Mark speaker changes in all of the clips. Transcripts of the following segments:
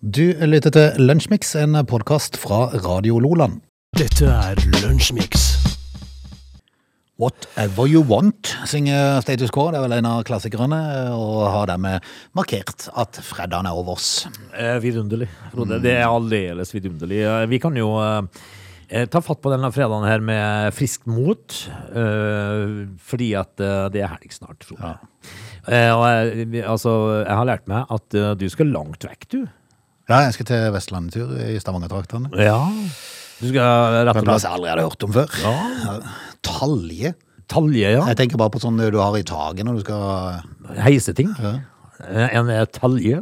Speaker 1: Du lytter til Lunsjmix, en podkast fra Radio Loland.
Speaker 2: Dette er Lunsjmix.
Speaker 1: Whatever you want, synger Status Quo. Det er vel en av klassikerne. Og har dermed markert at fredagen er over oss.
Speaker 3: Eh, vidunderlig, Frode. Det er aldeles vidunderlig. Eh, Vi kan jo eh, ta fatt på denne fredagen her med friskt mot, eh, fordi at eh, det er helg snart, tror jeg. Eh, og jeg, vi- altså, jeg har lært meg at eh, du skal langt vekk, du.
Speaker 1: Ja, jeg skal til Vestlandetur i Stavanger-traktene.
Speaker 3: Ja. Du skal rett
Speaker 1: En
Speaker 3: og
Speaker 1: plass
Speaker 3: slett
Speaker 1: jeg aldri hadde hørt om før.
Speaker 3: ja.
Speaker 1: Talje.
Speaker 3: Talje, ja.
Speaker 1: Jeg tenker bare på sånn du har i taket når du skal
Speaker 3: Heiseting. Eh, En eh, talje.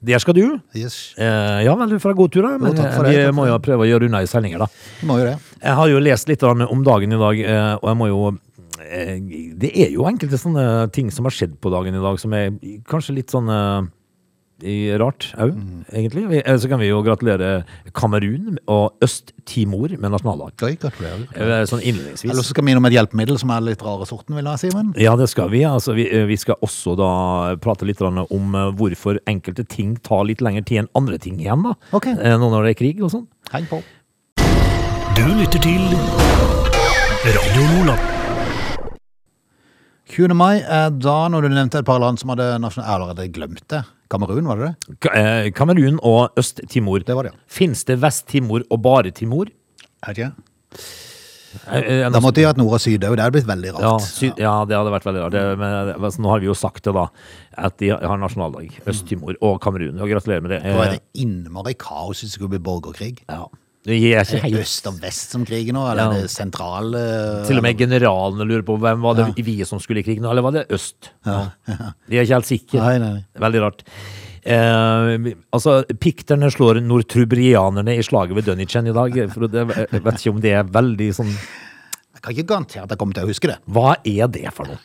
Speaker 3: Der skal du.
Speaker 1: Yes.
Speaker 3: Eh, ja vel, du får ha god tur, da. Men
Speaker 1: takk for
Speaker 3: eh,
Speaker 1: det,
Speaker 3: vi
Speaker 1: takk for
Speaker 3: må jo prøve å gjøre unna i sendinger, da.
Speaker 1: Du må jo det.
Speaker 3: Jeg har jo lest litt om om dagen i dag, eh, og jeg må jo eh, Det er jo enkelte sånne ting som har skjedd på dagen i dag, som er kanskje litt sånn eh, i- rart òg, egentlig. Vi- eh, Så kan vi jo gratulere Kamerun og Øst-Timor med nasjonaldag.
Speaker 1: Gøy, gratulerer.
Speaker 3: Eh, Sånn innledningsvis.
Speaker 1: Eller så skal vi innom et hjelpemiddel som er litt rare sorten, vil jeg si. Men
Speaker 3: Ja, det skal vi. Altså, vi, eh, vi skal også da prate litt grann om eh, hvorfor enkelte ting tar litt lengre tid enn andre ting igjen, da.
Speaker 1: Ok.
Speaker 3: Eh, Nå når det er krig og sånn.
Speaker 1: heng på.
Speaker 2: Du lytter til Radio Lola.
Speaker 1: 20. mai er eh, da, når du nevnte et par land som hadde nasjonal... Eller hadde glemt det. Kamerun, var det det?
Speaker 3: Ka- eh, Kamerun og Øst-Timor.
Speaker 1: Det var det, ja.
Speaker 3: Fins det Vest-Timor og bare Timor?
Speaker 1: Er det ikke?
Speaker 3: Eh, eh,
Speaker 1: Da måtte de hatt nord og syd òg. Det hadde blitt veldig rart.
Speaker 3: ja, sy ja, det hadde vært veldig rart. Det, men, eh, altså, nå har vi jo sagt det, da. At de har nasjonaldag.
Speaker 1: Mm.
Speaker 3: Øst-Timor og Kamerun. Og gratulerer med det.
Speaker 1: Da er
Speaker 3: Eh,
Speaker 1: det innmari kaos hvis det skulle bli borgerkrig.
Speaker 3: ja. Jeg er ikke
Speaker 1: Er det
Speaker 3: helt
Speaker 1: øst og vest som kriger nå, eller
Speaker 3: Ja.
Speaker 1: er eh, det sentrale
Speaker 3: Til og med generalene lurer på hvem var det vi som skulle i krig nå, eller var det øst? De er ikke helt sikre.
Speaker 1: Nei, nei, nei.
Speaker 3: Veldig rart. Eh, altså, Pikterne slår nordtrubrianerne i slaget ved Dunnichen i dag. For det, jeg vet ikke om det er veldig sånn
Speaker 1: Jeg kan ikke garantere at jeg kommer til å huske det.
Speaker 3: Hva er det for noe?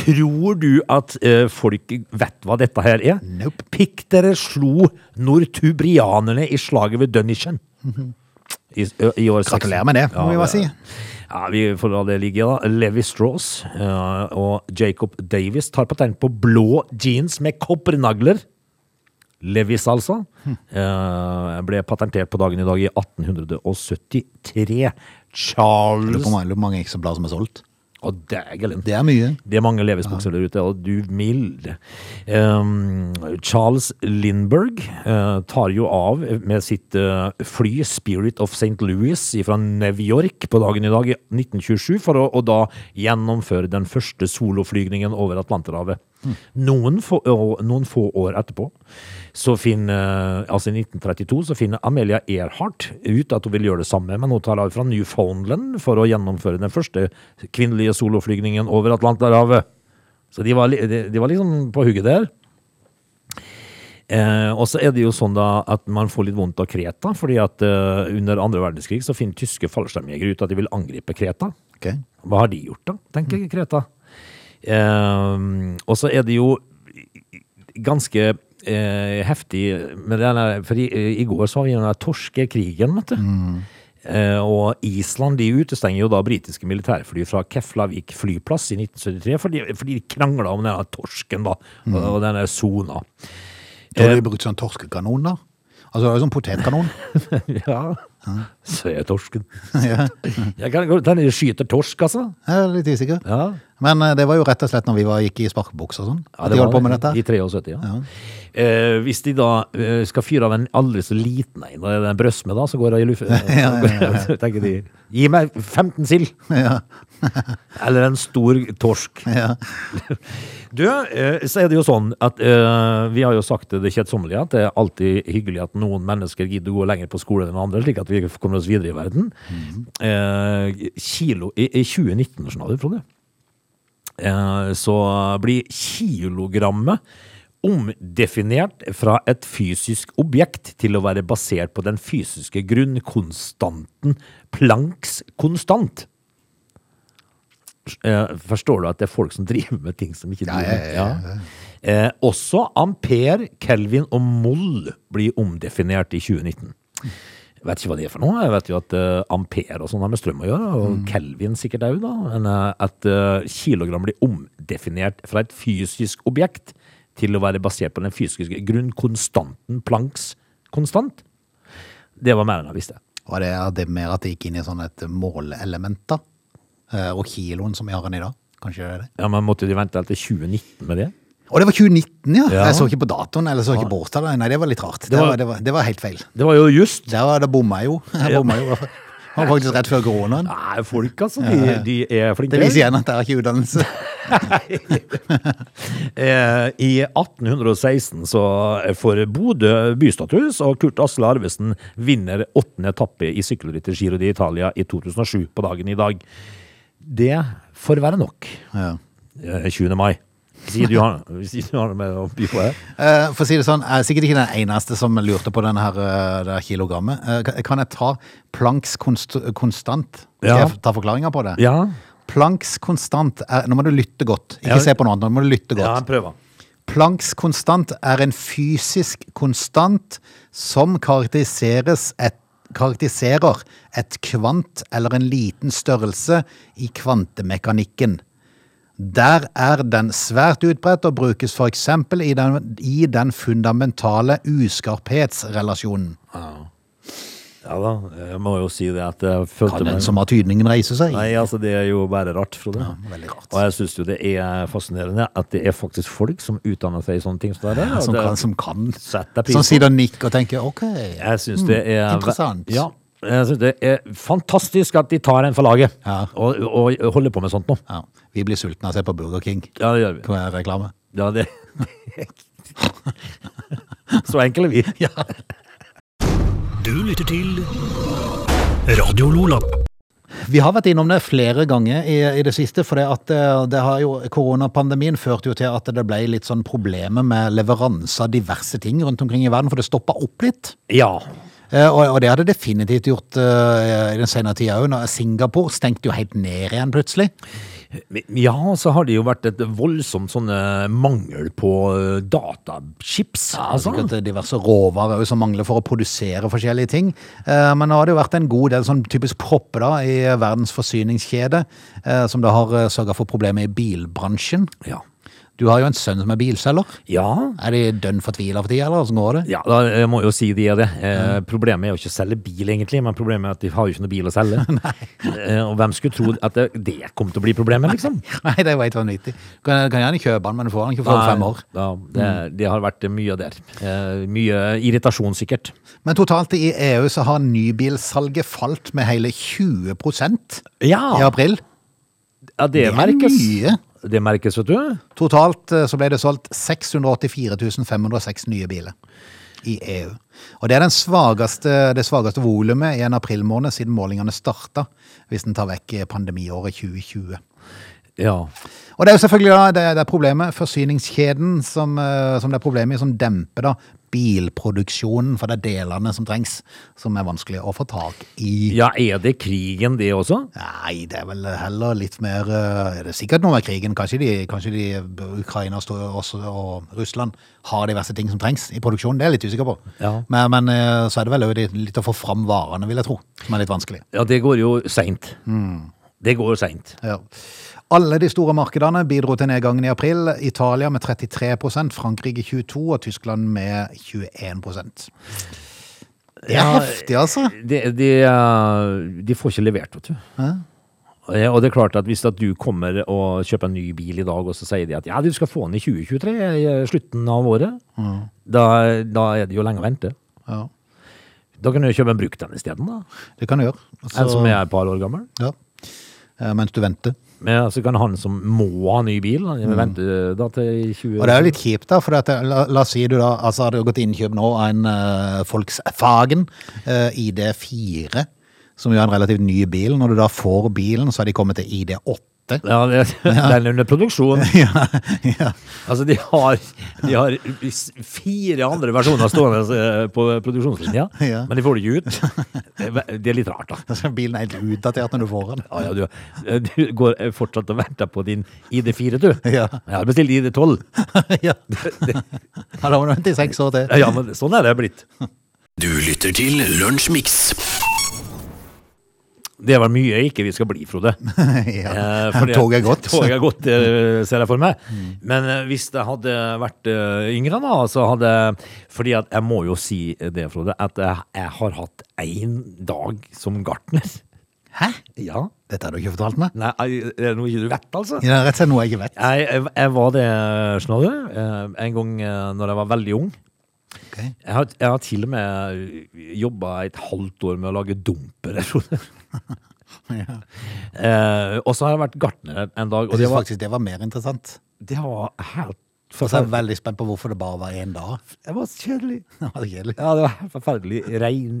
Speaker 3: Tror du at eh, folk vet hhva dette her er?
Speaker 1: Nope.
Speaker 3: Piktere slo nortubrianerne i slaget ved Dunnichen. I, ø, i år seks-
Speaker 1: Gratulerer med det, må vi bare si.
Speaker 3: Ja, vi får la det ligge, da. Levi Strauss eh, og Jacob Davis tar patent på blå jeans med koppernagler. Levis, altså.
Speaker 1: Hm.
Speaker 3: Eh, ble patentert på dagen i dag i 1873.
Speaker 1: Lurer
Speaker 3: Charles
Speaker 1: på hvor mange- lurer på hvor mange eksemplarer som er solgt.
Speaker 3: Å, dægelen.
Speaker 1: Det er mye.
Speaker 3: Det er mange Levis-bukser der ute, og du milde. Um, Charles Lindberg eh, tar jo av med sitt eh, fly Spirit of St. Louis fra New York på dagen i dag i 1927, for å, å da gjennomføre den første soloflygningen over Atlanterhavet. Noen, få, og noen få år etterpå, så finner, altså i 1932, så finner Amelia Earhart ut at hun vil gjøre det samme, men hun tar av fra Newfoundland for å gjennomføre den første kvinnelige soloflygningen over Atlanterhavet. Så de var, li- de, de var liksom på hugget der. Eh, og så er det jo sånn da at man får litt vondt av Kreta, fordi at eh, under andre verdenskrig så finner tyske fallskjermjegere ut at de vil angripe Kreta.
Speaker 1: Ok.
Speaker 3: Hva har de gjort da, tenker jeg, Kreta? Ehm, og så er det jo ganske eh, heftig med den der, For i, i går så var vi i den der torskekrigen, vet du. Eh, og Island de utestenger jo da britiske militærfly fra Keflavik flyplass i 1973 fordi, fordi de krangla om denne torsken da, og, og denne sona.
Speaker 1: Da har de brukt sånn torskekanon, da. Altså, det er jo sånn potetkanon.
Speaker 3: ja, ser torsken. Jeg kan godt hende de skyter torsk, altså.
Speaker 1: Jeg er litt usikker.
Speaker 3: Ja.
Speaker 1: Men eh, det var jo rett og slett når vi var, gikk i sparkebukser og sånn.
Speaker 3: Ja,
Speaker 1: at
Speaker 3: det
Speaker 1: de holdt
Speaker 3: var
Speaker 1: på med dette.
Speaker 3: I 73, ja. Eh, hvis de da eh, skal fyre av en aldri så liten en, og det er en brøst med da, så går det i luft. Så tenker de, gi meg 15 sild! Eller en stor torsk. Du, eh, så er det jo sånn at eh, vi har jo sagt det kjedsommelige, at det er alltid hyggelig at noen mennesker gidder å gå lenger på skole enn andre, slik at vi kommer oss videre i verden.
Speaker 1: Mhm.
Speaker 3: Eh, kilo, i, I 2019, skjønner du, Frode, eh, så blir kilogrammet omdefinert fra et fysisk objekt til å være basert på den fysiske grunnkonstanten Plancks konstant. Eh, Forstår du at det er folk som driver med ting som ikke
Speaker 1: Ja,
Speaker 3: driver
Speaker 1: ja,
Speaker 3: med-
Speaker 1: ja,
Speaker 3: Ja. Eh, også ampere, kelvin og moll blir omdefinert i 2019. Jeg vet ikke hva det er for noe. Jeg vet jo at eh, ampere og sånn har med strøm å gjøre, og kelvin sikkert òg, da. Men eh, at eh, kilogram blir omdefinert fra et fysisk objekt til å være basert på den fysiske grunnkonstanten Plancks konstant. Det var mer enn jeg visste.
Speaker 1: Var det, er det mer at det gikk inn i sånn et målelement, da? Eh, Og kiloen som vi har den i dag? Kanskje det er det?
Speaker 3: Ja, men Måtte de vente helt til 2019 med det?
Speaker 1: Å, det var 2019, ja.
Speaker 3: Ja.
Speaker 1: Jeg så ikke på datoen, eller så ikke på årstallet. Nei, det var litt rart. Det
Speaker 3: var-
Speaker 1: var, det var, det var helt feil.
Speaker 3: Det var jo just
Speaker 1: Der var det bomma jeg jo. Jeg bomma jo. i hvert fall. Det var faktisk rett før koronaen.
Speaker 3: Nei, folk, altså. De, de er flinke.
Speaker 1: Det viser igjen at jeg har ikke utdannelse.
Speaker 3: Eh, I 1816 så får Bodø bystatus, og Kurt Asle Arvesen vinner åttende etappe i sykkelrittet Giro d'Italia i 2007 på dagen i dag. Det får være nok.
Speaker 1: Ja.
Speaker 3: Eh, 20. mai. Sier du har, sier du har noe med å by på her?
Speaker 1: Eh, For å si det sånn, jeg er sikkert ikke den eneste som lurte på denne her, eh, det her kilogrammet. Eh, kan- Kan jeg ta Plancks konst konstant? Skal
Speaker 3: Ja.
Speaker 1: jeg ta forklaringa på det?
Speaker 3: Ja,
Speaker 1: Plancks konstant er, Nå må du lytte godt. Ikke
Speaker 3: Ja.
Speaker 1: se på noe annet, nå må du lytte
Speaker 3: ja
Speaker 1: godt.
Speaker 3: prøver.
Speaker 1: Plancks konstant er en fysisk konstant som karakteriseres et, karakteriserer et kvant eller en liten størrelse i kvantemekanikken. Der er den svært utbredt og brukes f.eks. I, den- i den fundamentale uskarphetsrelasjonen.
Speaker 3: Ja da, jeg må jo si det at jeg følte
Speaker 1: Kan den
Speaker 3: meg
Speaker 1: som har tydningen reise seg?
Speaker 3: Nei, altså det er jo bare rart, Frode.
Speaker 1: veldig rart.
Speaker 3: Og jeg syns jo det er fascinerende at det er faktisk folk som utdanner seg i sånne ting som det der. og
Speaker 1: som
Speaker 3: det-
Speaker 1: kan, som kan.
Speaker 3: Sett deg pris
Speaker 1: Som
Speaker 3: på.
Speaker 1: sitter og nikker og tenker OK.
Speaker 3: Jeg syns det er
Speaker 1: interessant.
Speaker 3: Ja. Jeg synes det er fantastisk at de tar en for laget
Speaker 1: Ja.
Speaker 3: og, og holder på med sånt nå.
Speaker 1: Ja, vi blir sultne av å se på Burger King
Speaker 3: Ja, det gjør vi.
Speaker 1: på reklame.
Speaker 3: Ja, det. Så enkle er vi.
Speaker 2: Du lytter til Radio Lola.
Speaker 1: Vi har vært innom det flere ganger i, i det siste, for det at eh, det har jo, koronapandemien førte jo til at det ble litt sånn problemer med leveranse av diverse ting rundt omkring i verden, for det stoppa opp litt.
Speaker 3: Ja.
Speaker 1: Eh, Og, og det hadde definitivt gjort eh, i den senere tida òg. Singapore stengte jo helt ned igjen plutselig.
Speaker 3: Ja, så har det jo vært et voldsomt sånn eh, mangel på eh, datachips. altså.
Speaker 1: Sikkert diverse råvarer også som mangler for å produsere forskjellige ting. Eh, Men nå har det jo vært en god del sånn typisk propper da, i verdens forsyningskjede, eh, som da har sørga for problemer i bilbransjen.
Speaker 3: Ja.
Speaker 1: Du har jo en sønn som er bilselger.
Speaker 3: ja.
Speaker 1: Er de dønn fortvila for tida, eller åssen går det?
Speaker 3: Ja, da jeg må jo si de er det. Eh, problemet er jo ikke å selge bil, egentlig, men problemet er at de har jo ikke noe bil å selge. eh, og hvem skulle tro at det, det kom til å bli problemet, liksom?
Speaker 1: Nei, det er jo helt vanvittig. Du kan, kan gjerne kjøpe den, men du får den ikke før om fem år.
Speaker 3: Ja, det, det har vært mye der. Eh, mye irritasjon, sikkert.
Speaker 1: Men totalt i EU så har nybilsalget falt med hele 20 i
Speaker 3: Ja,
Speaker 1: april.
Speaker 3: ja det,
Speaker 1: er
Speaker 3: merkes.
Speaker 1: mye.
Speaker 3: Det merkes, vet du.
Speaker 1: Totalt eh, så ble det solgt 684 506 nye biler i EU. Og det er den svageste, det svageste volumet i en aprilmåned siden målingene starta, hvis en tar vekk eh, pandemiåret 2020.
Speaker 3: Ja.
Speaker 1: Og det er jo selvfølgelig da, det, det er problemet, forsyningskjeden som, eh, som det er problemet i, som demper da bilproduksjonen, for det er delene som trengs, som er vanskelig å få tak i.
Speaker 3: ja, er det krigen, det også?
Speaker 1: Nei, det er vel heller litt mer eh, Er det sikkert noe med krigen? Kanskje de, kanskje de eh, Ukraina og Stor- også, og Russland har diverse ting som trengs i produksjonen? Det er jeg litt usikker på.
Speaker 3: Ja.
Speaker 1: Men, men eh, så er det vel også litt- litt å få fram varene, vil jeg tro, som er litt vanskelig.
Speaker 3: Ja, det går jo seint. Det går seint.
Speaker 1: Ja. Alle de store markedene bidro til nedgangen i april. Italia med 33 Frankrike 22 og Tyskland med 21 Det er
Speaker 3: Ja,
Speaker 1: heftig, altså.
Speaker 3: De, de, eh, de får ikke levert, vet du. Eh, Og det er klart at hvis at du kommer og kjøper en ny bil i dag, og så sier de at ja, du skal få den i 2023, i eh, slutten av året, da, da er det jo lenge å vente.
Speaker 1: Ja,
Speaker 3: Da kan du jo kjøpe en brukt en isteden, da.
Speaker 1: det kan du gjøre.
Speaker 3: En som
Speaker 1: Så,
Speaker 3: er et par år gammel.
Speaker 1: ja. Eh, Mens du venter.
Speaker 3: Men så kan han som må ha ny bil, han vente da til 20
Speaker 1: Mm. Og det er jo litt kjipt, da. For at, la, la oss si du da altså hadde gått innkjøp nå av en uh, Volkswagen eh, ID4, som jo er en relativt ny bil. Når du da får bilen, så har de kommet til ID8.
Speaker 3: Ja, det, den er under produksjon.
Speaker 1: ja, ja.
Speaker 3: Altså, de har, de har s- fire andre versjoner stående eh, på produksjonslinja,
Speaker 1: Ja.
Speaker 3: men de får det ikke ut. Det er- Det er litt rart, da.
Speaker 1: Altså, Bilen er helt utdatert når du får den.
Speaker 3: Ja, ja, du, eh, du går fortsatt og venter på din ID4, du.
Speaker 1: Ja.
Speaker 3: Jeg har bestilt ID12.
Speaker 1: ja. ja, da må du vente i seks år til.
Speaker 3: Ja, men sånn er det blitt.
Speaker 2: Du lytter til Lunsjmix.
Speaker 3: Det er vel mye ikke vi skal bli, Frode.
Speaker 1: ja.
Speaker 3: Eh, fordi at-
Speaker 1: Toget er Mm. gått.
Speaker 3: Toget er gått, eh, ser jeg for meg. Men eh, hvis jeg hadde vært eh, yngre da, så hadde Fordi at jeg må jo si det, Frode, at jeg, jeg har hatt én dag som gartner.
Speaker 1: Hæ?
Speaker 3: Ja.
Speaker 1: Dette har du ikke fortalt meg?
Speaker 3: Nei, er det noe ikke du vet, altså?
Speaker 1: Ja, Det er rett og slett noe jeg ikke vet.
Speaker 3: Jeg, jeg, jeg var det, skjønner du, eh, en gang eh, når jeg var veldig ung.
Speaker 1: Ok.
Speaker 3: Jeg har, jeg har til og med jobba et halvt år med å lage dumper. jeg tror det.
Speaker 1: Ja.
Speaker 3: Eh, og så har jeg vært gartner en dag,
Speaker 1: Jeg
Speaker 3: og det
Speaker 1: synes
Speaker 3: var,
Speaker 1: faktisk det var mer interessant.
Speaker 3: det var helt
Speaker 1: Og så er Altså, jeg
Speaker 3: forferdelig.
Speaker 1: veldig spent på hvorfor det bare var én dag.
Speaker 3: Det var så kjedelig.
Speaker 1: Det var kjedelig.
Speaker 3: Ja, det var helt forferdelig. Rein,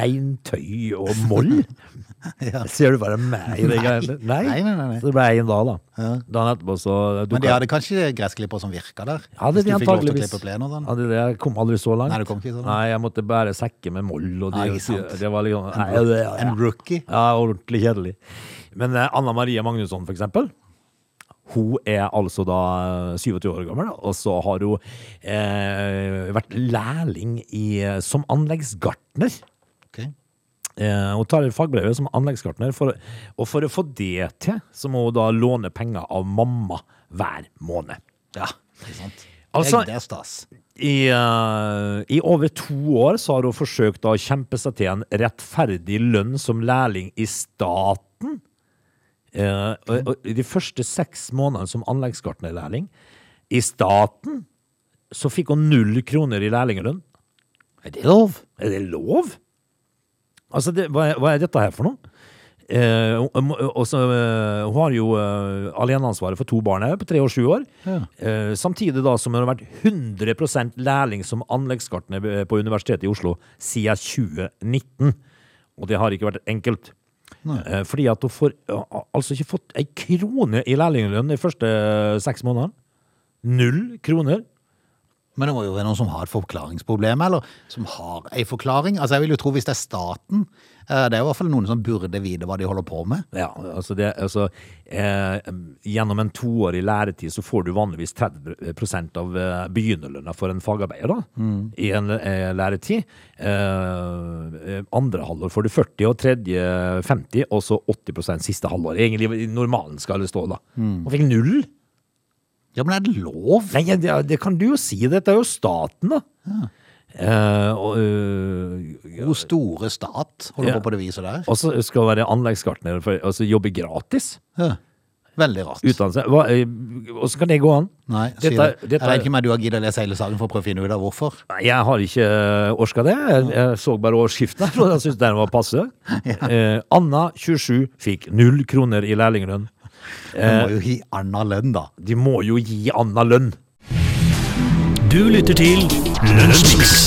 Speaker 3: reintøy og moll.
Speaker 1: Ja.
Speaker 3: Ser du bare meg i det
Speaker 1: Nei.
Speaker 3: greiene?
Speaker 1: Nei, nei, nei, nei.
Speaker 3: Så det ble én dag, da. Dagen etterpå så
Speaker 1: Men de
Speaker 3: dukka
Speaker 1: hadde kanskje gressklipper som virka der?
Speaker 3: Ja, det
Speaker 1: hvis
Speaker 3: er
Speaker 1: du fikk lov til å
Speaker 3: antageligvis.
Speaker 1: klippe plenen og sånn?
Speaker 3: Ja, det, det- jeg kom aldri så langt.
Speaker 1: Nei, du kom ikke så langt.
Speaker 3: Nei, jeg måtte bære sekker med moll. Og de,
Speaker 1: Nei, ikke sant.
Speaker 3: det var liksom, nei, det, ja, ja.
Speaker 1: En rookie?
Speaker 3: ja, ordentlig kjedelig. Men eh, Anna Maria Magnusson, for eksempel. Hun er altså da eh, 27 år gammel, og så har hun eh, vært lærling i, eh, som anleggsgartner.
Speaker 1: Ok.
Speaker 3: Eh, hun tar fagbrevet som anleggsgartner, for, å- og for å få det til, så må hun da låne penger av mamma hver måned.
Speaker 1: Ja, ikke sant.
Speaker 3: Altså-
Speaker 1: det er stas.
Speaker 3: I, eh, I over to år så har hun forsøkt å kjempe seg til en rettferdig lønn som lærling i staten. Eh, og, og, I de første seks månedene som anleggsgartnerlærling i staten, så fikk hun null kroner i lærlingelønn. Er det lov? Er det lov? Altså, det, hva, er, hva er dette her for noe? Eh, og- og- og så, eh, hun har jo eh, aleneansvaret for to barn her på tre og sju år. Eh, samtidig da som hun har vært 100 lærling som anleggsgartner eh, på Universitetet i Oslo siden 2019. Og det har ikke vært enkelt. Eh, fordi at hun får eh, altså ikke fått ei krone i lærlinglønn de første eh, seks månedene. Null kroner.
Speaker 1: Men det må jo være noen som har et forklaringsproblem, eller som har ei forklaring. Altså, jeg vil jo tro hvis det er staten, eh, det er jo i hvert fall noen som burde vite hva de holder på med.
Speaker 3: Ja, altså, det, altså eh, Gjennom en toårig læretid så får du vanligvis 30 av eh, begynnerlønna for en fagarbeider da, i en eh, læretid. Eh, andre halvår får du 40, og tredje 50, og så 80 siste halvår. Egentlig i normalen skal det stå, da. Og fikk null!
Speaker 1: Ja, men er det lov?
Speaker 3: Nei, det, det kan du jo si. Dette er jo staten, da. Eh, og, eh,
Speaker 1: Hvor store stat holder
Speaker 3: Ja.
Speaker 1: på på det viset der?
Speaker 3: og så skal du være anleggsgartner for- og så jobbe gratis.
Speaker 1: Ja. Veldig rart.
Speaker 3: Utdannelse. Hva, eh, hvordan kan det gå an?
Speaker 1: Nei, sier
Speaker 3: dette,
Speaker 1: det.
Speaker 3: dette,
Speaker 1: Jeg vet ikke om du har giddet å lese hele saken for å prøve å finne ut av hvorfor.
Speaker 3: Nei, jeg har ikke eh, orska det. Jeg, jeg så bare overskriften her, og jeg syntes den var passe. Eh, Anna, 27, fikk null kroner i lærlinglønn.
Speaker 1: Du
Speaker 3: Eh.
Speaker 1: må jo gi Anna lønn, da.
Speaker 3: De må jo gi Anna lønn.
Speaker 2: Du lytter til Lunsjmix.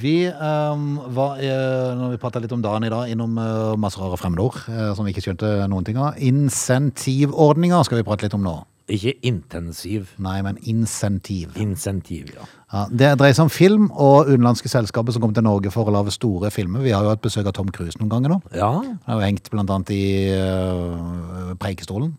Speaker 1: Vi ehm, var, eh, når vi pratet litt om dagen i dag, innom eh, masse rare fremmedord eh, som vi ikke skjønte noen ting av. Insentivordninger skal vi prate litt om nå.
Speaker 3: Ikke intensiv.
Speaker 1: Nei, men insentiv.
Speaker 3: Insentiv, ja.
Speaker 1: Ja, det dreier seg om film og utenlandske selskaper som kommer til Norge for å lage store filmer. Vi har jo hatt besøk av Tom Cruise noen ganger nå.
Speaker 3: Ja,
Speaker 1: Han har jo hengt blant annet i øh, Preikestolen.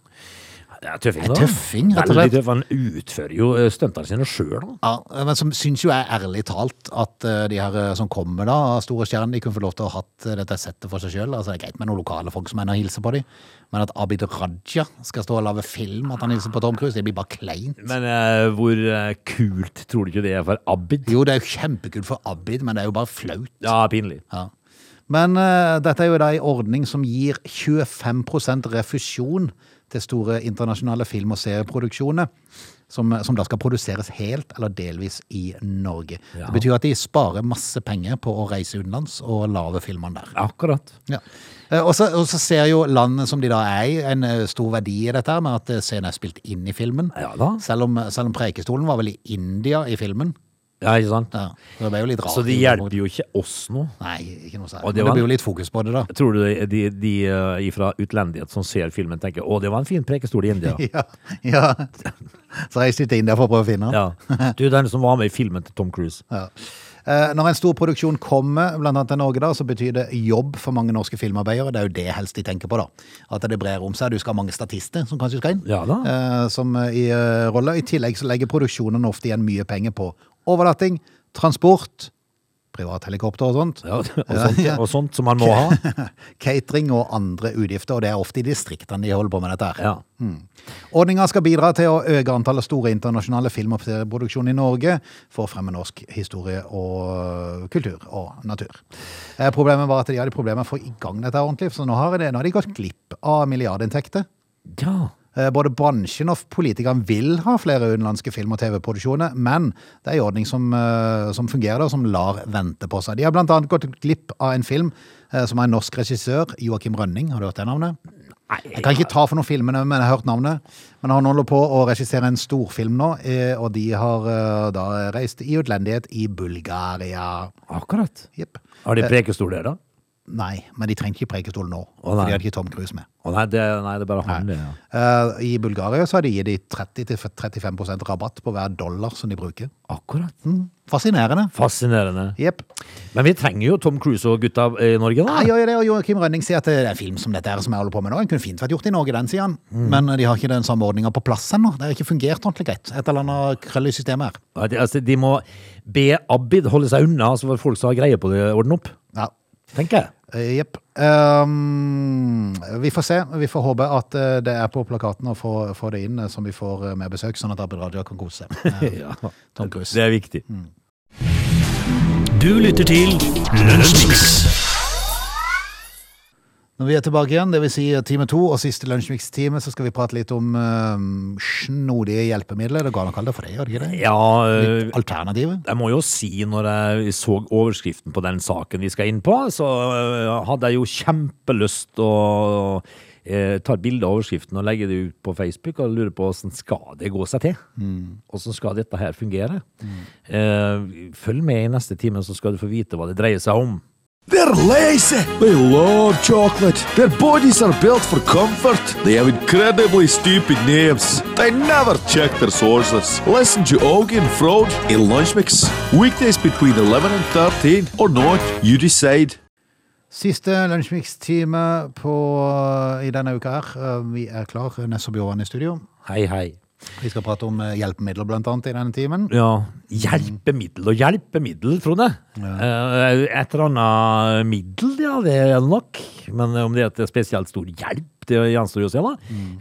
Speaker 3: det er tøffing,
Speaker 1: Det er
Speaker 3: da.
Speaker 1: tøffing, rett og
Speaker 3: Veldig
Speaker 1: slett.
Speaker 3: tøff. Han utfører jo eh, stuntene sine sjøl, da.
Speaker 1: Ja, men som syns jo jeg ærlig talt at øh, de her øh, som kommer da, av store stjerner, de kunne få lov til å ha hatt øh, dette settet for seg sjøl. Altså, det er greit med noen lokale folk som er og hilser på dem, men at Abid Raja skal stå og lage film, at han hilser på Tom Cruise, det blir bare kleint.
Speaker 3: Men eh, hvor eh, kult tror du ikke det er for Abid?
Speaker 1: Jo, det er jo kjempekult for Abid, men det er jo bare flaut.
Speaker 3: Ja, pinlig.
Speaker 1: Ja. Men eh, dette er jo da en ordning som gir 25 refusjon til store internasjonale film- og serieproduksjoner, som, eh, som da skal produseres helt eller delvis i Norge.
Speaker 3: Ja.
Speaker 1: Det betyr at de sparer masse penger på å reise utenlands og lage filmene der.
Speaker 3: Akkurat.
Speaker 1: Ja. Eh, Og så og så ser jo landet som de da er i, en eh, stor verdi i dette her, med at eh, scenen er spilt inn i filmen.
Speaker 3: Ja da.
Speaker 1: Selv om, eh, selv om Preikestolen var vel i India i filmen.
Speaker 3: Ja, ikke sant?
Speaker 1: Ja, så det ble jo litt rart.
Speaker 3: Så det hjelper jo ikke oss nå.
Speaker 1: Nei, ikke noe særlig.
Speaker 3: Og
Speaker 1: Men
Speaker 3: det
Speaker 1: det,
Speaker 3: var-
Speaker 1: blir jo litt fokus på det, da.
Speaker 3: Tror du de, de, de eh, fra utlendighet som ser filmen tenker Å, det var en fin prekestol i India.
Speaker 1: Ja, ja. Så reiste jeg til India for å prøve å finne den.
Speaker 3: Ja. Du, den som var med i filmen til Tom Cruise.
Speaker 1: Ja. Eh, Når en stor produksjon kommer, blant annet til Norge, da, så betyr det jobb for mange norske filmarbeidere. Det er jo det helst de tenker på, da. At det brer om seg. Du skal ha mange statister som kanskje skal inn
Speaker 3: Ja da.
Speaker 1: eh, som eh, i eh, rolle. I tillegg så legger produksjonen ofte igjen mye penger på overnatting, transport, privathelikopter og sånt.
Speaker 3: Ja, og, sånt,
Speaker 1: ja.
Speaker 3: og sånt som man må ha.
Speaker 1: Catering og andre utgifter, og det er ofte i distriktene de holder på med dette. her.
Speaker 3: Ja.
Speaker 1: Ordninga skal bidra til å øke antallet store internasjonale film- og serieproduksjoner i Norge for å fremme norsk historie og kultur og natur. Eh, Problemet var at de hadde problemer med å få i gang dette ordentlig, så nå har, det, nå har de gått glipp av milliardinntekter.
Speaker 3: ja.
Speaker 1: Eh, Både bransjen og politikerne vil ha flere utenlandske film- og TV-produksjoner, men det er en ordning som, eh, som fungerer, og som lar vente på seg. De har blant annet gått glipp av en film eh, som er en norsk regissør, Joakim Rønning. Har du hørt det navnet?
Speaker 3: Nei,
Speaker 1: Jeg kan ikke ta for noen filmene, men jeg har hørt navnet. Men han holder på å regissere en storfilm nå, eh, og de har eh, da reist i utlendighet i Bulgaria.
Speaker 3: akkurat.
Speaker 1: Jepp.
Speaker 3: Har de prekestol der, da?
Speaker 1: Nei, men de trengte ikke prekestol nå,
Speaker 3: Å, nei.
Speaker 1: for de hadde ikke Tom Cruise med.
Speaker 3: Å nei, det, nei, det er bare han, det. Ja.
Speaker 1: Eh, I Bulgaria så har de gitt de 30-35 rabatt på hver dollar som de bruker.
Speaker 3: Akkurat.
Speaker 1: Fascinerende.
Speaker 3: Fascinerende.
Speaker 1: Jepp.
Speaker 3: Men vi trenger jo Tom Cruise og gutta i Norge, da.
Speaker 1: Jeg gjør jo det, og Joakim Rønning sier at det er en film som dette her som jeg holder på med nå. Den kunne fint vært gjort i Norge, den, sier han. Men eh, de har ikke den samme ordninga på plass ennå. Det har ikke fungert ordentlig greit. Et eller annet krøll i systemet her.
Speaker 3: Ja, de- Altså, de må be Abid holde seg unna, så får folk som har greie på det, ordne opp.
Speaker 1: Ja.
Speaker 3: Tenker jeg.
Speaker 1: Eh, Jepp. Ehm, vi får se. Vi får håpe at eh, det er på plakaten å få, få det inn eh, som vi får eh, mer besøk, sånn at Abid Raja kan kose seg. Eh, Tom Cruise.
Speaker 3: Det er viktig.
Speaker 2: Du lytter til Lunsjmix.
Speaker 1: Når vi er tilbake igjen, dvs. Si time to og siste lunsjmikstime, så skal vi prate litt om eh, snodige hjelpemidler. Det går an å kalle det for det, gjør det ikke det?
Speaker 3: Ja, øh,
Speaker 1: Alternativet?
Speaker 3: jeg må jo si, når jeg så overskriften på den saken vi skal inn på, så øh, hadde jeg jo kjempelyst å øh, ta et bilde av overskriften og legge det ut på Facebook og lure på åssen skal det gå seg til? Åssen skal dette her fungere? Eh, følg med i neste time, så skal du få vite hva det dreier seg om.
Speaker 4: They're lazy. They love chocolate. Their bodies are built for comfort. They have incredibly stupid names. They never check their sources. Listen to Augie and Frode in Lunch Mix. Weekdays between 11 and 13 or not, you decide.
Speaker 1: Siste lunsjmikstime på, i denne uka her. Eh, vi er klar. Nesse Bjørvann i studio.
Speaker 3: Hei, hei.
Speaker 1: Vi skal prate om eh, hjelpemidler, blant annet, i denne timen.
Speaker 3: Ja, hjelpemiddel og hjelpemiddel, Frode. Eh, Et eller annet middel, ja, det er det nok. Men eh, om det er et spesielt stor hjelp, det gjenstår jo å se, da.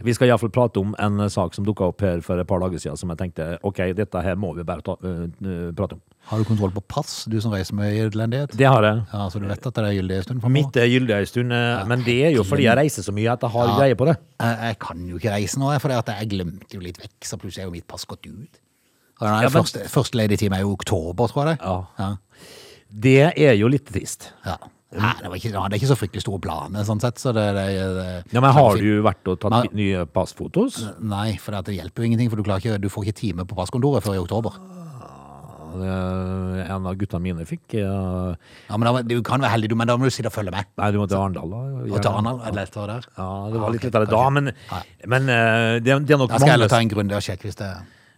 Speaker 3: Vi skal iallfall prate om en eh, sak som dukka opp her for et par dager siden, som jeg tenkte ok, dette her må vi bare ta, eh, eh, prate om.
Speaker 1: Har du kontroll på pass, du som reiser med utlendighet?
Speaker 3: Det har jeg.
Speaker 1: Ja, så du vet at det er gyldig en stund for
Speaker 3: Mitt er gyldig ei stund, eh, men det er jo fordi jeg reiser så mye at jeg har greie på det.
Speaker 1: Jeg, jeg kan jo ikke reise nå, jeg, for det at jeg glemte jo litt vekk, så plutselig er jo mitt pass gått ut. Og den her
Speaker 3: Ja, men-
Speaker 1: første, første ledige time er jo i oktober, tror jeg det.
Speaker 3: Ja.
Speaker 1: Ja.
Speaker 3: Det er jo litt trist.
Speaker 1: ja. Nei, det, var ikke, det er ikke så fryktelig store planer, sånn sett, så det... det, det
Speaker 3: Ja, Men har du vært og tatt
Speaker 1: Nei.
Speaker 3: bi- nye passfotos?
Speaker 1: Nei, for det at det hjelper jo ingenting, for du, klarer ikke, du får ikke time på passkontoret før i oktober.
Speaker 3: Eh, En av gutta mine fikk eh,
Speaker 1: Ja, men da, må- du kan være heldig, du, men da må du sitte og følge med.
Speaker 3: Nei, du må til Arendal, da.
Speaker 1: Og ta
Speaker 3: Gjerne.
Speaker 1: Arnald, er det lettere der?
Speaker 3: Ja, det var litt
Speaker 1: Ah, ok,
Speaker 3: lettere da,
Speaker 1: kanskje.
Speaker 3: men,
Speaker 1: Nei.
Speaker 3: men eh, det, er- det er nok
Speaker 1: Da skal jeg heller ta
Speaker 3: mange
Speaker 1: en grundig og sjekk hvis det...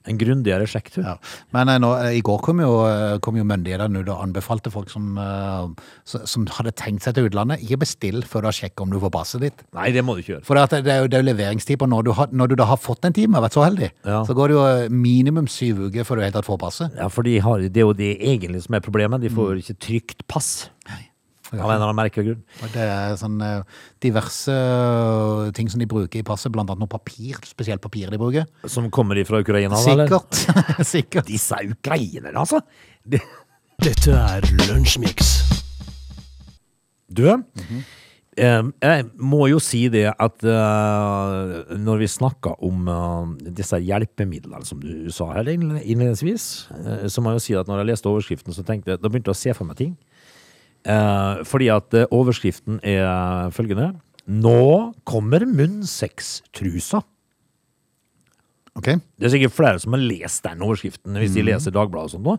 Speaker 3: En grundigere sjekk, tror jeg.
Speaker 1: Ja. Men eh, nå, eh, i går kom jo, eh, kom jo myndighetene ut og anbefalte folk som, eh, s- som hadde tenkt seg til utlandet, ikke bestill før du har sjekket om du får passet ditt.
Speaker 3: Nei, det må du ikke gjøre.
Speaker 1: For det, at det, det er jo, det er jo leveringstid på når du, har, når du da har fått en time, har vært så heldig,
Speaker 3: Ja.
Speaker 1: så går det jo eh, minimum syv uker før du helt tatt får passet.
Speaker 3: Ja, for de har, det er jo det egentlig som er problemet. De
Speaker 1: Mm.
Speaker 3: får ikke trygt pass. Av en eller annen merkelig grunn.
Speaker 1: Og det er sånn eh, diverse eh, ting som de bruker i passet, blant annet noe papir, spesielt papir de bruker.
Speaker 3: Som kommer ifra Ukraina, da, eller?
Speaker 1: Sikkert. Sikkert.
Speaker 3: Disse ukrainerne, altså! De,
Speaker 2: Dette er Lunsjmix.
Speaker 3: du, eh, jeg må jo si det at eh, når vi snakker om eh, disse hjelpemidlene som du sa her innle- innledningsvis, eh, så må jeg jo si at når jeg leste overskriften, så tenkte jeg, da begynte jeg å se for meg ting. Eh, fordi at eh, overskriften er følgende. Nå kommer munnsextrusa.
Speaker 1: Ok.
Speaker 3: Det er sikkert flere som har lest den overskriften hvis de leser Dagbladet og sånn nå.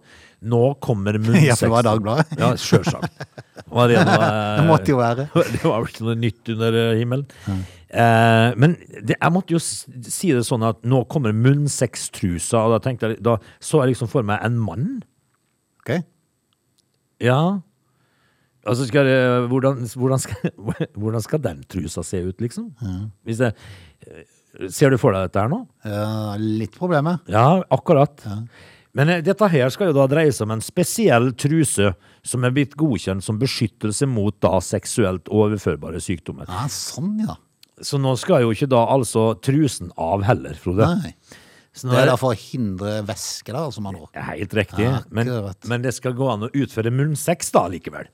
Speaker 3: Nå kommer munnsex.
Speaker 1: Mhm. Ja, for det var Dagbladet.
Speaker 3: ja, sjølsagt. Var det, eh, noe,
Speaker 1: Det måtte jo være.
Speaker 3: det var vel ikke noe nytt under eh, himmelen. Eh, men det, jeg måtte jo s- si det sånn at nå kommer munnsextrusa, og da tenkte jeg Da så jeg liksom for meg en mann.
Speaker 1: Ok.
Speaker 3: Ja. Altså skal det, hvordan, hvordan, skal, hvordan skal den trusa se ut, liksom? Hvis det, ser du for deg dette her nå?
Speaker 1: eh, Ja, litt problemet.
Speaker 3: Ja, akkurat. Men eh, dette her skal jo da dreie seg om en spesiell truse som er blitt godkjent som beskyttelse mot da seksuelt overførbare sykdommer.
Speaker 1: Ja, sånn, ja.
Speaker 3: Så nå skal jo ikke da altså trusen av heller, Frode.
Speaker 1: Nei.
Speaker 3: Så nå
Speaker 1: Det er
Speaker 3: er
Speaker 1: da for å hindre væske, da, som man har.
Speaker 3: det helt riktig,
Speaker 1: Ja,
Speaker 3: men,
Speaker 1: akkurat.
Speaker 3: men det skal gå an å utføre munnsex da likevel.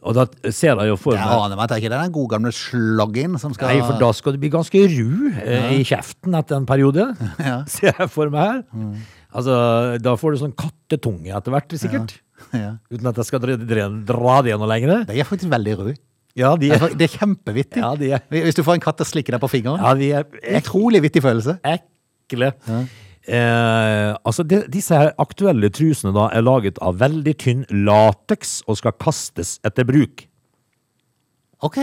Speaker 3: Og da ser jeg jo for
Speaker 1: Jeg
Speaker 3: meg
Speaker 1: aner meg at det ikke er den gode gamle sloggen som skal
Speaker 3: Nei, for da skal du bli ganske ru eh, i kjeften etter en periode,
Speaker 1: Ja. Mm.
Speaker 3: ser jeg for meg her. Altså, da får du sånn kattetunge etter hvert, sikkert.
Speaker 1: ja.
Speaker 3: Uten at jeg skal dra, dra, dra det noe lenger.
Speaker 1: De er faktisk veldig røde.
Speaker 3: Ja, de
Speaker 1: Det
Speaker 3: er,
Speaker 1: er- det er kjempevittig.
Speaker 3: Ja, de er-
Speaker 1: Hvis du får en katt til å slikke deg på fingeren.
Speaker 3: ja, de er ek,
Speaker 1: Utrolig vittig følelse.
Speaker 3: ekle. Eh, altså, de, disse her aktuelle trusene da er laget av veldig tynn lateks og skal kastes etter bruk.
Speaker 1: Ok,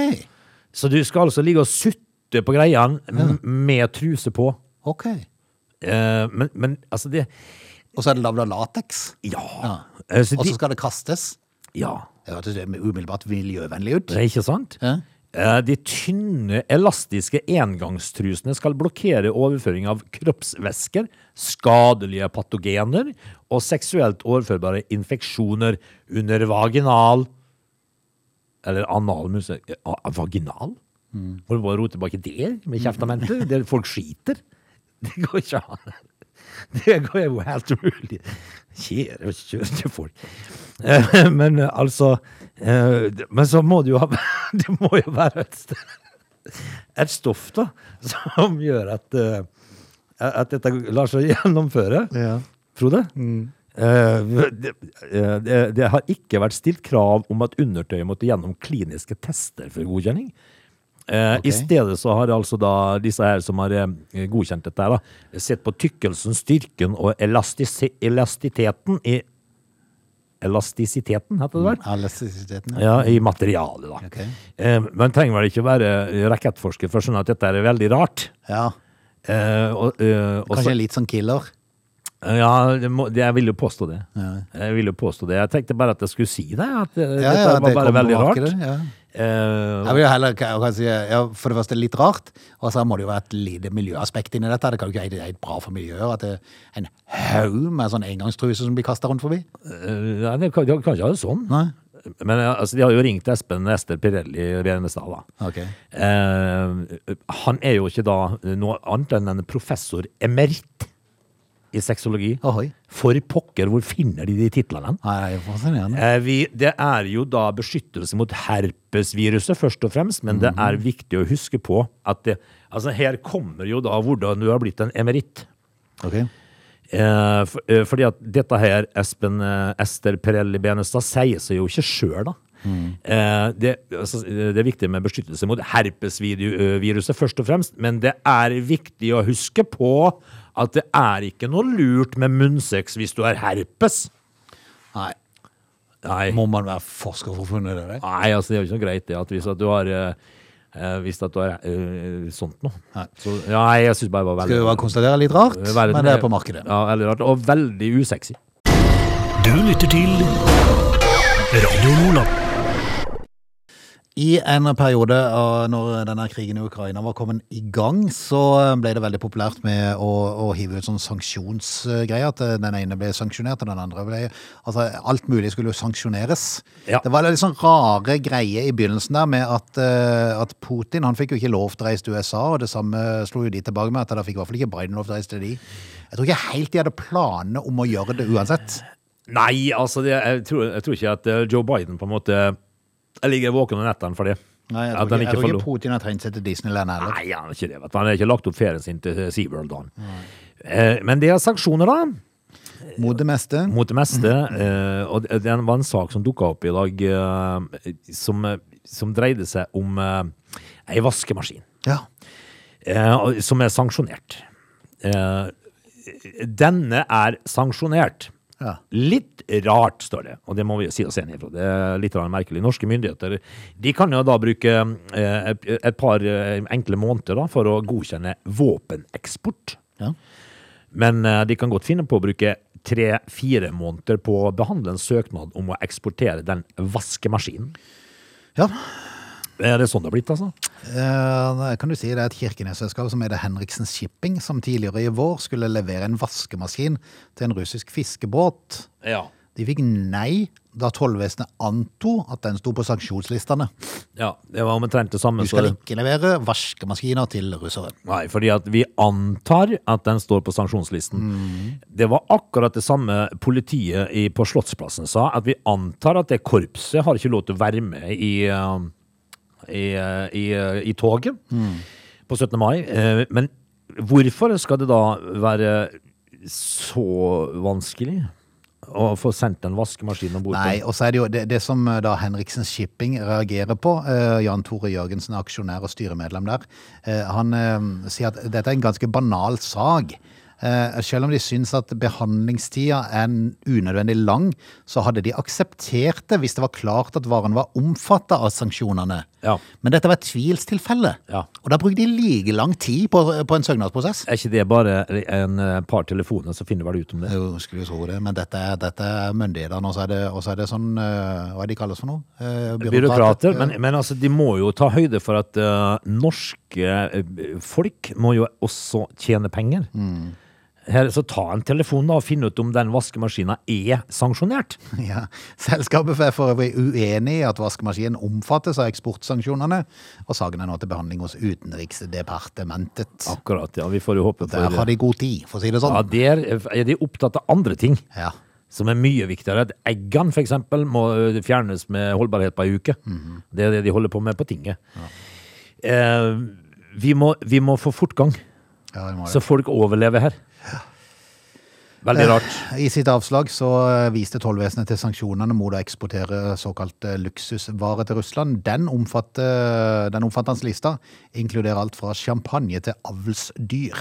Speaker 3: Så du skal altså ligge og sutte på greiene m- med truse på.
Speaker 1: ok.
Speaker 3: Eh, men, men altså, det
Speaker 1: Og så er det lavd av lateks.
Speaker 3: Ja.
Speaker 1: Ja.
Speaker 3: Eh, så
Speaker 1: Og
Speaker 3: de,
Speaker 1: så skal det kastes.
Speaker 3: ja.
Speaker 1: Det hørtes jo umiddelbart miljøvennlig ut.
Speaker 3: Det er ikke sant?
Speaker 1: Ja.
Speaker 3: Eh, De tynne, elastiske engangstrusene skal blokkere overføring av kroppsvæsker, skadelige patogener og seksuelt overførbare infeksjoner under vaginal Eller anal muse- ah, Vaginal? Får du bare rote baki der med kjeftamentet? Der folk skiter? Det går ikke an. Det går jo helt umulig. Kjære, kjøre folk. Eh, Men eh, altså eh, d- Men så må det jo ha Det må jo være et, st- et stoff, da, som gjør at eh, At dette lar seg gjennomføre.
Speaker 1: Ja.
Speaker 3: Frode? Eh, Det, eh, det, det har ikke vært stilt krav om at undertøyet måtte gjennom kliniske tester for godkjenning. Eh, I
Speaker 1: Ok.
Speaker 3: stedet så har altså da disse her som har eh, godkjent dette, her da, sett på tykkelsen, styrken og elastis- elastiteten i Elastisiteten, heter det vel?
Speaker 1: Elastisiteten, ja.
Speaker 3: Ja, i materialet, da.
Speaker 1: Mm. Ok.
Speaker 3: Eh, man trenger vel ikke være eh, rakettforsker for å skjønne at dette er veldig rart.
Speaker 1: ja.
Speaker 3: Eh, og, eh, og så- Eh,
Speaker 1: Kanskje litt sånn killer.
Speaker 3: ja, det må, det, jeg vil jo påstå det. Jeg vil jo påstå det. Jeg tenkte bare at jeg skulle si det. At eh,
Speaker 1: Ja,
Speaker 3: dette
Speaker 1: ja,
Speaker 3: var
Speaker 1: det
Speaker 3: bare
Speaker 1: kommer
Speaker 3: veldig
Speaker 1: bak i
Speaker 3: rart.
Speaker 1: det, ja.
Speaker 3: Eh,
Speaker 1: Jeg vil jo heller ka- kanskje, ja, For det første litt rart, og så må det jo være et lite miljøaspekt inni dette. Det kan jo ikke være helt bra for miljøet at det er en haug med sånn engangstruse som blir kasta rundt forbi.
Speaker 3: eh, nei, det kan de kan ikke ha det sånn.
Speaker 1: Nei.
Speaker 3: Men eh, altså, de har jo ringt Espen Ester Pirelli Renestad, da.
Speaker 1: Ok.
Speaker 3: Eh, han er jo ikke da noe annet enn en professor emeritt i sexologi.
Speaker 1: Ohoi.
Speaker 3: For pokker, hvor finner de de titlene? hen?
Speaker 1: Nei, det er fascinerende.
Speaker 3: Eh, Vi, det er jo da beskyttelse mot herpesviruset, først og fremst, men det er viktig å huske på at det Altså, her kommer jo da hvordan du har blitt en emeritt.
Speaker 1: Ok.
Speaker 3: Eh, for, eh, fordi at dette her, Espen eh, Ester Perelli Benestad, sier seg jo ikke sjøl, da. Eh, det, altså, det er viktig med beskyttelse mot herpesviruset, først og fremst, men det er viktig å huske på at det er ikke noe lurt med munnsex hvis du har herpes.
Speaker 1: Nei,
Speaker 3: Nei.
Speaker 1: må man være forsker for å finne det? eller?
Speaker 3: Nei, altså det er jo ikke noe greit det at hvis at du har eh, eh, Hvis at du har eh, sånt noe.
Speaker 1: Nei.
Speaker 3: Så, ja, nei, jeg syns bare det var
Speaker 1: Skal
Speaker 3: veldig
Speaker 1: jo bare konstatere litt rart,
Speaker 3: veldig-
Speaker 1: men det er på markedet.
Speaker 3: Ja, veldig rart. Og veldig usexy.
Speaker 2: Du lytter til Radio Lola.
Speaker 1: I en periode av når denne krigen i Ukraina var kommet i gang, så ble det veldig populært med å, å hive ut sånn sanksjonsgreier. At eh, den ene ble sanksjonert, og den andre ble Altså, alt mulig skulle jo sanksjoneres.
Speaker 3: Ja.
Speaker 1: Det var litt sånn rare greier i begynnelsen der med at, eh, at Putin han fikk jo ikke lov til å reise til USA, og det samme slo jo de tilbake med, at da fikk i hvert fall ikke Biden lov til å reise til de. Jeg tror ikke helt de hadde planene om å gjøre det uansett.
Speaker 3: Nei, altså det, jeg, tror, jeg tror ikke at eh, Joe Biden på en måte Jeg ligger våken om nettene for det.
Speaker 1: Nei, jeg
Speaker 3: At
Speaker 1: tror ikke,
Speaker 3: han
Speaker 1: jeg
Speaker 3: ikke
Speaker 1: tror
Speaker 3: får
Speaker 1: ikke
Speaker 3: lov.
Speaker 1: Putin har trent seg til Disneyland heller.
Speaker 3: Nei, han er ikke det. Vet du. Han har ikke lagt opp ferien sin til eh, SeaWorld. da. Eh, men det er sanksjoner, da.
Speaker 1: Mot det meste.
Speaker 3: mot det meste.
Speaker 1: Mhm.
Speaker 3: eh, og det det var en sak som dukka opp i dag, eh, som, eh, som dreide seg om uh, ei vaskemaskin,
Speaker 1: Ja.
Speaker 3: eh, og- som er sanksjonert. Eh, denne er sanksjonert.
Speaker 1: Ja.
Speaker 3: Litt rart, står det, og det må vi si oss enig i. for Det er litt grann merkelig. Norske myndigheter de kan jo da bruke eh, et- et par eh, enkle måneder da, for å godkjenne våpeneksport.
Speaker 1: ja.
Speaker 3: Men eh, de kan godt finne på å bruke tre-fire måneder på å behandle en søknad om å eksportere den vaskemaskinen.
Speaker 1: Ja.
Speaker 3: Er det sånn det har blitt, altså?
Speaker 1: Eh, nei, kan du si det er et kirkenesselskap som er det Henriksen Shipping, som tidligere i vår skulle levere en vaskemaskin til en russisk fiskebåt.
Speaker 3: Ja.
Speaker 1: De fikk nei da tollvesenet anto at den sto på sanksjonslistene.
Speaker 3: ja det var omtrent det
Speaker 1: Du
Speaker 3: samme.
Speaker 1: skal
Speaker 3: så-
Speaker 1: ikke levere vaskemaskiner til russere.
Speaker 3: Nei, fordi at vi antar at den står på sanksjonslisten. Det var akkurat det samme politiet i, på Slottsplassen sa, at vi antar at det korpset har ikke lov til å være med i, eh, i, eh, i, eh, i toget på 17. mai. Eh, Men hvorfor skal det da være så vanskelig å få sendt en vaskemaskin om bord?
Speaker 1: Nei, og så er det jo det, det som eh, da Henriksen Shipping reagerer på, eh, Jan Tore Jørgensen er aksjonær og styremedlem der, eh, han eh, sier at dette er en ganske banal sag. Eh, selv om de syns at behandlingstida er en unødvendig lang, så hadde de akseptert det hvis det var klart at varen var omfatta av sanksjonene.
Speaker 3: Ja.
Speaker 1: Men dette var et tvilstilfelle,
Speaker 3: Ja.
Speaker 1: og da brukte de like lang tid på, på en søknadsprosess.
Speaker 3: Er ikke det bare en eh, par telefoner, så finner vel ut om det?
Speaker 1: Jo, skulle jo tro det, men dette, er- dette er myndighetene, og så er det, og så er det sånn eh, Hva er det de kalles for noe? Eh,
Speaker 3: Byråkrater,
Speaker 1: Ja.
Speaker 3: men, men altså, de må jo ta høyde for at eh, norske eh, folk må jo også tjene penger.
Speaker 1: Mm.
Speaker 3: Her, så ta en telefon da og finn ut om den vaskemaskinen er sanksjonert.
Speaker 1: Ja. Selskapet er for øvrig uenig i at vaskemaskinen omfattes av eksportsanksjonene, og saken er nå til behandling hos Utenriksdepartementet.
Speaker 3: Akkurat, ja. Vi får jo håpe
Speaker 1: Der
Speaker 3: for
Speaker 1: har de god tid, for å si det
Speaker 3: Ja,
Speaker 1: sånn.
Speaker 3: der er de opptatt av andre ting
Speaker 1: Ja.
Speaker 3: som er mye viktigere. At eggene for eksempel må eh, fjernes med holdbarhet på en uke.
Speaker 1: Mhm.
Speaker 3: Det er det de holder på med på tinget. Eh, vi, må, vi må få fortgang,
Speaker 1: Ja, det må
Speaker 3: så
Speaker 1: det.
Speaker 3: folk overlever her. Veldig rart.
Speaker 1: I sitt avslag så eh, viste tollvesenet til sanksjonene mot å eksportere såkalt eh, luksusvare til Russland. Den omfatter, den omfattende lista inkluderer alt fra champagne til avlsdyr.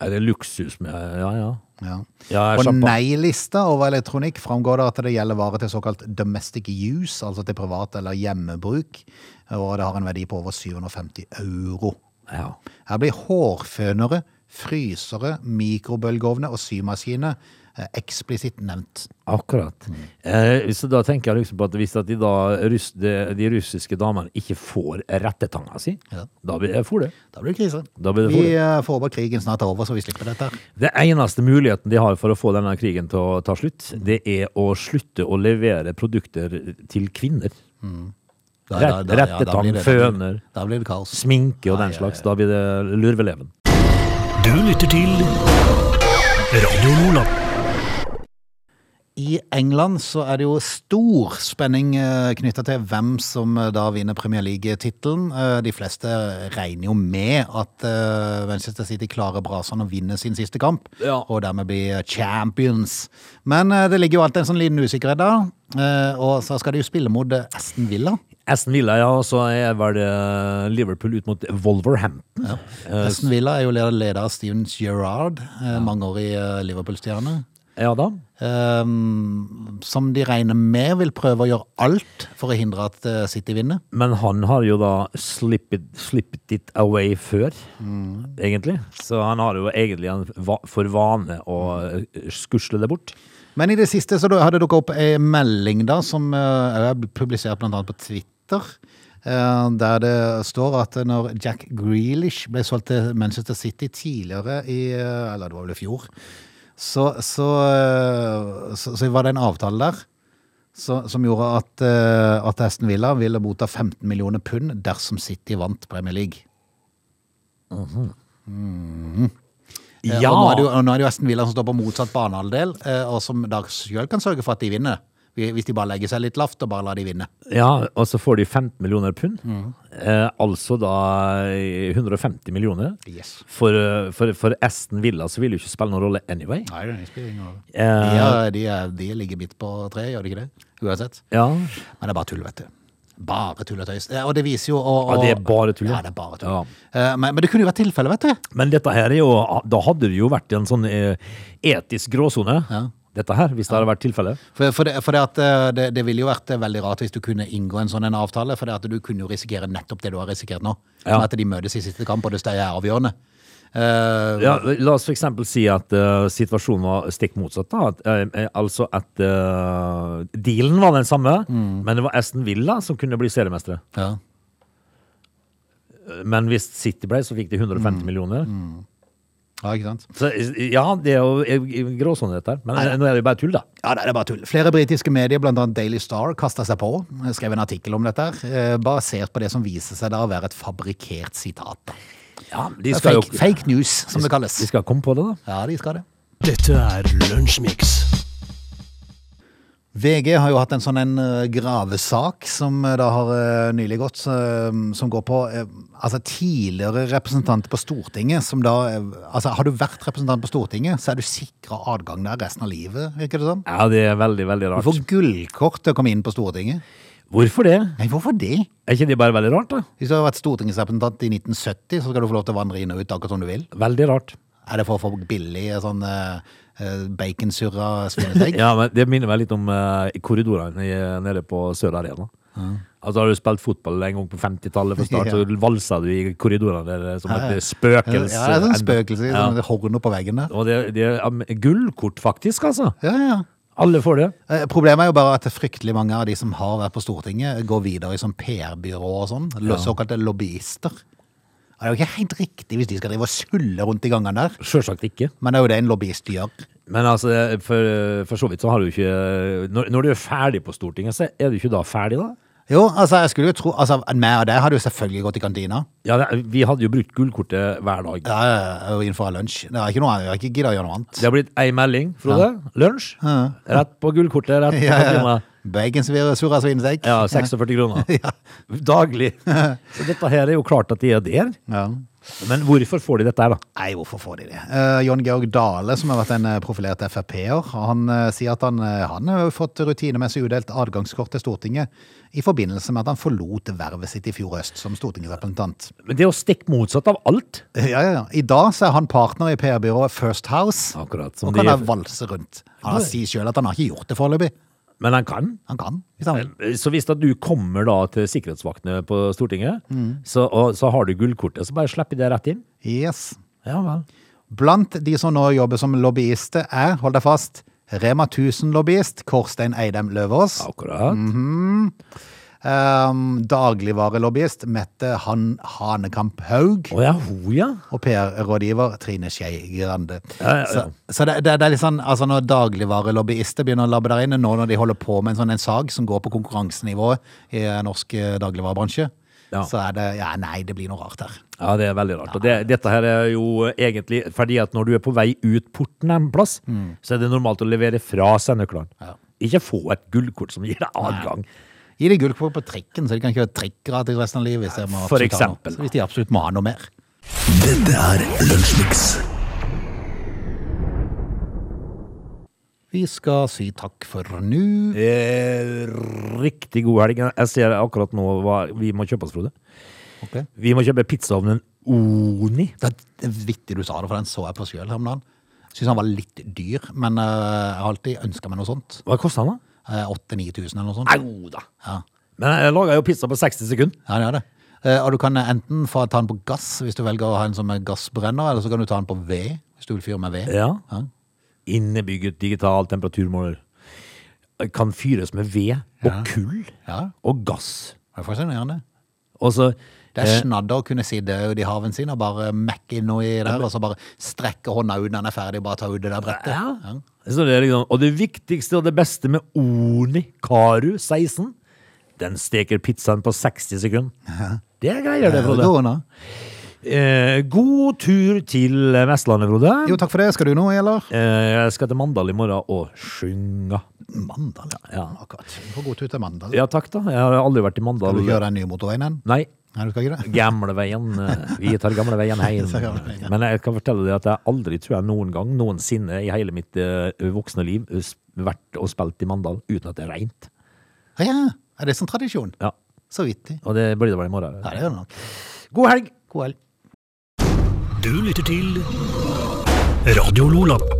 Speaker 3: Er det luksus med Ja, ja.
Speaker 1: Ja.
Speaker 3: Ja,
Speaker 1: På
Speaker 3: sjampa-
Speaker 1: nei-lista over elektronikk framgår det at det gjelder varer til såkalt domestic use, altså til privat eller hjemmebruk, og det har en verdi på over 750 euro.
Speaker 3: ja.
Speaker 1: Her blir hårfønere, frysere, mikrobølgeovner og symaskiner eh, eksplisitt nevnt.
Speaker 3: Akkurat. Eh, så da tenker jeg liksom på at hvis at de, da, russ, de, de russiske damene ikke får rettetanga si,
Speaker 1: Ja.
Speaker 3: da blir det for det.
Speaker 1: Da blir det krise.
Speaker 3: Da blir det
Speaker 1: Vi
Speaker 3: for det.
Speaker 1: eh, får bare krigen snart over, så vi slipper dette. her.
Speaker 3: Det eneste muligheten de har for å få denne krigen til å ta slutt, det er å slutte å levere produkter til kvinner.
Speaker 1: Da-
Speaker 3: Rett-
Speaker 1: da- da- ja, da
Speaker 3: rettetang,
Speaker 1: blir det-
Speaker 3: føner.
Speaker 1: Da blir det kaos.
Speaker 3: Sminke og den
Speaker 1: Ai, ai,
Speaker 3: slags. Da blir det lurveleven.
Speaker 2: Du lytter til Radio Lola.
Speaker 1: I England så er det jo stor spenning eh, knyttet til hvem som eh, da vinner Premier League-tittelen. Eh, De fleste regner jo med at eh, Manchester City klarer brasene og vinner sin siste kamp,
Speaker 3: Ja.
Speaker 1: og dermed blir eh, champions. Men eh, det ligger jo alltid en sånn liten usikkerhet der, eh, og så skal de jo spille mot eh, Aston Villa.
Speaker 3: Aston Villa, ja, og så er vel eh, Liverpool ut mot Wolverhampton.
Speaker 1: Aston Villa er jo leder- leder av Steven Gerrard, eh, mangeårig eh, Liverpool-stjerne.
Speaker 3: Ja da.
Speaker 1: eh, Som de regner med vil prøve å gjøre alt for å hindre at eh, City vinner.
Speaker 3: Men han har jo da slippet, slippet it away før,
Speaker 1: Mm.
Speaker 3: egentlig. Så han har jo egentlig en va for vane å eh, skusle det bort.
Speaker 1: Men i det siste så har det dukket opp en melding da, som eh, er publisert blant annet på Twitter, eh, der det står at når Jack Grealish ble solgt til Manchester City tidligere i, eh, eller det var vel i fjor, så, så, eh, så, så var det en avtale der så, som gjorde at, eh, at Aston Villa ville motta 15 millioner pund dersom City vant Premier League. Eh, Og nå er, det jo, og nå er det jo Aston Villa som står på motsatt banehalvdel, eh, og som da sjøl kan sørge for at de vinner. Hvis de bare legger seg litt lavt og bare lar de vinne.
Speaker 3: ja, og så får de 15 millioner pund.
Speaker 1: Mm.
Speaker 3: Eh, altså da eh, 150 millioner.
Speaker 1: Yes.
Speaker 3: For, eh, for, for Aston Villa så vil det jo ikke spille noen rolle anyway.
Speaker 1: Nei, det spiller ingen rolle.
Speaker 3: Eh,
Speaker 1: De,
Speaker 3: ja.
Speaker 1: er- de, er- de ligger midt på treet, gjør de ikke det? Uansett. Men det er bare tull, vet du. Bare tull og tøys. Eh, Og det viser jo og,
Speaker 3: Ja, det er bare tull, ja.
Speaker 1: Ja, det er bare tull.
Speaker 3: Ja.
Speaker 1: Eh, Men, men det kunne jo vært tilfellet, vet du.
Speaker 3: Men dette her er jo Da hadde det jo vært en sånn eh, etisk gråsone,
Speaker 1: Ja.
Speaker 3: dette her, hvis det hadde vært tilfellet.
Speaker 1: For, for, det, for det, at, eh, det, det ville jo vært eh, veldig rart hvis du kunne inngå en sånn en avtale, for det at du kunne jo risikere nettopp det du har risikert nå.
Speaker 3: Ja.
Speaker 1: Med At de møtes i siste kamp, og det er avgjørende. Eh,
Speaker 3: Ja, la oss for eksempel si at eh, situasjonen var stikk motsatt. Da. At, eh, eh, altså at Mm. eh, dealen var den samme, men det var Aston Villa som kunne bli seriemestere.
Speaker 1: ja.
Speaker 3: Men hvis City ble, så fikk de 150 millioner.
Speaker 1: Ja, ikke sant?
Speaker 3: Så, eh, ja, det er jo en gråsone, dette her. Men eh,
Speaker 1: Nei.
Speaker 3: nå er det jo bare tull, da.
Speaker 1: Ja, nei, det er bare tull. Flere britiske medier, bl.a. Daily Star, kasta seg på. Skrev en artikkel om dette, her, eh, basert på det som viser seg da å være et fabrikkert sitat. da.
Speaker 3: Ja, de skal
Speaker 1: Fake,
Speaker 3: jo
Speaker 1: fake news, som det kalles.
Speaker 3: De skal komme på det, da.
Speaker 1: Ja, de skal det.
Speaker 2: Dette er Lunsjmix.
Speaker 1: VG har jo hatt en sånn en eh, gravesak som eh, da har eh, nylig gått, så, eh, som går på eh, altså tidligere representanter på Stortinget som da eh, Altså, har du vært representant på Stortinget, så er du sikra adgang der resten av livet, virker det som.
Speaker 3: Ja, det er veldig, veldig
Speaker 1: Du
Speaker 3: rart.
Speaker 1: får gullkort til å komme inn på Stortinget.
Speaker 3: Hvorfor det?
Speaker 1: Nei, hvorfor det?
Speaker 3: Er ikke det bare veldig rart, da?
Speaker 1: Hvis du har vært stortingsrepresentant i 1970, så skal du få lov til å vandre inn og ut akkurat som du vil.
Speaker 3: Veldig rart.
Speaker 1: Er det for å få billig sånn eh, eh, baconsurra svinestegg?
Speaker 3: Ja, men Det minner meg litt om eh, korridorene i, eh, nede på Sør Arena. Altså Har du spilt fotball en gang på 50-tallet, for snart,
Speaker 1: Ja.
Speaker 3: så valsa du i korridorene der eh, som
Speaker 1: Ja, ja.
Speaker 3: et
Speaker 1: Eh,
Speaker 3: spøkelse.
Speaker 1: Ja, det er sånn spøkelse.
Speaker 3: Ja.
Speaker 1: Sånn hornet på veggen der.
Speaker 3: Og det, det er um, gullkort, faktisk, altså.
Speaker 1: Ja, ja, ja.
Speaker 3: Alle får det.
Speaker 1: Eh, Problemet er jo bare at fryktelig mange av de som har vært på Stortinget, går videre i sånn PR-byrå og sånn. lo- Såkalte lobbyister. Det er jo ikke helt riktig hvis de skal drive og sulle rundt i gangen der,
Speaker 3: Sjølsagt ikke.
Speaker 1: men det er jo det en lobbyist gjør.
Speaker 3: Men altså, for, for så vidt så har du ikke eh, når, når du er ferdig på Stortinget, så er du ikke da ferdig, da?
Speaker 1: Jo, altså, jeg skulle jo tro altså, Mer av det hadde jo selvfølgelig gått i kantina.
Speaker 3: Ja, det, Vi hadde jo brukt gullkortet hver dag.
Speaker 1: Ja, ja, ja, og innenfor lunsj. Det er ikke noe annet. Jeg har ikke giddet å gjøre noe annet.
Speaker 3: Det har blitt ei melding, Frode. Lunsj. Rett på gullkortet. Rett på
Speaker 1: Ja, ja, ja.
Speaker 3: kantina.
Speaker 1: Baconsvirre, surra svinestek.
Speaker 3: Ja, 46 kroner.
Speaker 1: Ja.
Speaker 3: Daglig. Så dette her er jo klart at de er der.
Speaker 1: Ja.
Speaker 3: Men hvorfor får de dette her, da?
Speaker 1: Nei, hvorfor får de det? Eh, Jon Georg Dale, som har vært en eh, profilert Frp-er, han eh, sier at han, eh, han har jo fått rutinemessig udelt adgangskort til Stortinget i forbindelse med at han forlot vervet sitt i fjor høst som stortingsrepresentant.
Speaker 3: Men Det er jo stikk motsatt av alt.
Speaker 1: Ja, ja, ja. I dag så er han partner i PR-byrået First House
Speaker 3: Akkurat som
Speaker 1: og kan
Speaker 3: de-
Speaker 1: da valse rundt. Han sier sjøl at han har ikke gjort det foreløpig.
Speaker 3: Men han kan.
Speaker 1: Han kan, hvis han vil.
Speaker 3: Så hvis da du kommer da til sikkerhetsvaktene på Stortinget, så, og, så har du gullkortet, så bare slipper de det rett inn.
Speaker 1: Yes.
Speaker 3: Ja vel.
Speaker 1: Blant de som nå jobber som lobbyister, er, hold deg fast, Rema 1000-lobbyist Korstein Eidem Løvaas.
Speaker 3: Akkurat.
Speaker 1: Um, dagligvarelobbyist Mette Han Hanekamp Haug
Speaker 3: Å ja, ho ja.
Speaker 1: og PR-rådgiver Trine Skei Grande.
Speaker 3: Ja, ja, ja.
Speaker 1: Så, så det, det, det er litt sånn, altså når dagligvarelobbyister begynner å labbe der inne, nå når de holder på med en sånn en sag som går på konkurransenivået i norsk eh, dagligvarebransje,
Speaker 3: Ja.
Speaker 1: så er det Ja, nei, det blir noe rart her.
Speaker 3: Ja, det er veldig rart. Og det, dette her er jo egentlig fordi at når du er på vei ut porten en plass, så er det normalt å levere fra seg nøklene.
Speaker 1: Ja.
Speaker 3: Ikke få et gullkort som gir deg adgang.
Speaker 1: Gi dem gullkort på trikken, så de kan kjøre trikk gratis resten av livet. Hvis de, må absolutt ha
Speaker 3: For
Speaker 1: noe-
Speaker 3: eksempel.
Speaker 1: hvis de absolutt må ha noe mer.
Speaker 2: Dette er Lunsjmix.
Speaker 1: Vi skal si takk for nå.
Speaker 3: Eh, riktig god helg. Jeg ser akkurat nå hva vi må kjøpe oss, Frode.
Speaker 1: Ok.
Speaker 3: Vi må kjøpe pizzaovnen Oni.
Speaker 1: Det er vittig du sa det, for den så jeg på sjøl her om dagen. Syns han var litt dyr, men eh, jeg har alltid ønska meg noe sånt.
Speaker 3: Hva kosta den, da?
Speaker 1: Uh, 8000-9000 eller noe sånt.
Speaker 3: Au da!
Speaker 1: Ja,
Speaker 3: Men jeg laga jo pizza på 60 sekunder.
Speaker 1: ja det er det. Eh, og du kan enten få ta den på gass, hvis du velger å ha en som er gassbrenner, eller så kan du ta den på ved, hvis du vil fyre med ved.
Speaker 3: Ja.
Speaker 1: Ja.
Speaker 3: Innebygget digital temperaturmåler. Kan fyres med ved og kull
Speaker 1: Ja.
Speaker 3: og gass.
Speaker 1: Det er fascinerende.
Speaker 3: Og så eh,
Speaker 1: Det er snadder å kunne sitte i haven sin og bare mekke inn noe i der, og så bare strekke hånda ut når den er ferdig, bare ta ut det der brettet.
Speaker 3: Ja. Så det er liksom, og det viktigste og det beste med Oni Karu 16, den steker pizzaen på 60 sekunder. Det er greier, det,
Speaker 1: Det
Speaker 3: Frode.
Speaker 1: går unna.
Speaker 3: Eh, god tur til Vestlandet,
Speaker 1: Jo,
Speaker 3: Frode.
Speaker 1: takk for det. Skal du noe, eller?
Speaker 3: Eh, jeg skal til Mandal i morgen og synge.
Speaker 1: Mandal, ja.
Speaker 3: Ja.
Speaker 1: Akkurat. Du får god tur til Mandal.
Speaker 3: Ja takk, da. Jeg har aldri vært i
Speaker 1: Skal
Speaker 3: Mandal.
Speaker 1: du kjøre den nye motorveien hen?
Speaker 3: Nei.
Speaker 1: Nei, du skal ikke det?
Speaker 3: Gamleveien. eh, Vi tar gamleveien heim.
Speaker 1: tar gamleveien, ja.
Speaker 3: Men jeg kan fortelle deg at jeg aldri tror jeg noen gang, noensinne i hele mitt eh, voksne liv, eh, sp- vært og spilt i Mandal uten at det er reint.
Speaker 1: Ja, ja. Er det som tradisjon?
Speaker 3: Ja.
Speaker 1: Så vittig.
Speaker 3: Og det blir det vel i morgen.
Speaker 1: Ja, det gjør det nok.
Speaker 3: God helg!
Speaker 1: God helg.
Speaker 2: Du lytter til Radio Lola.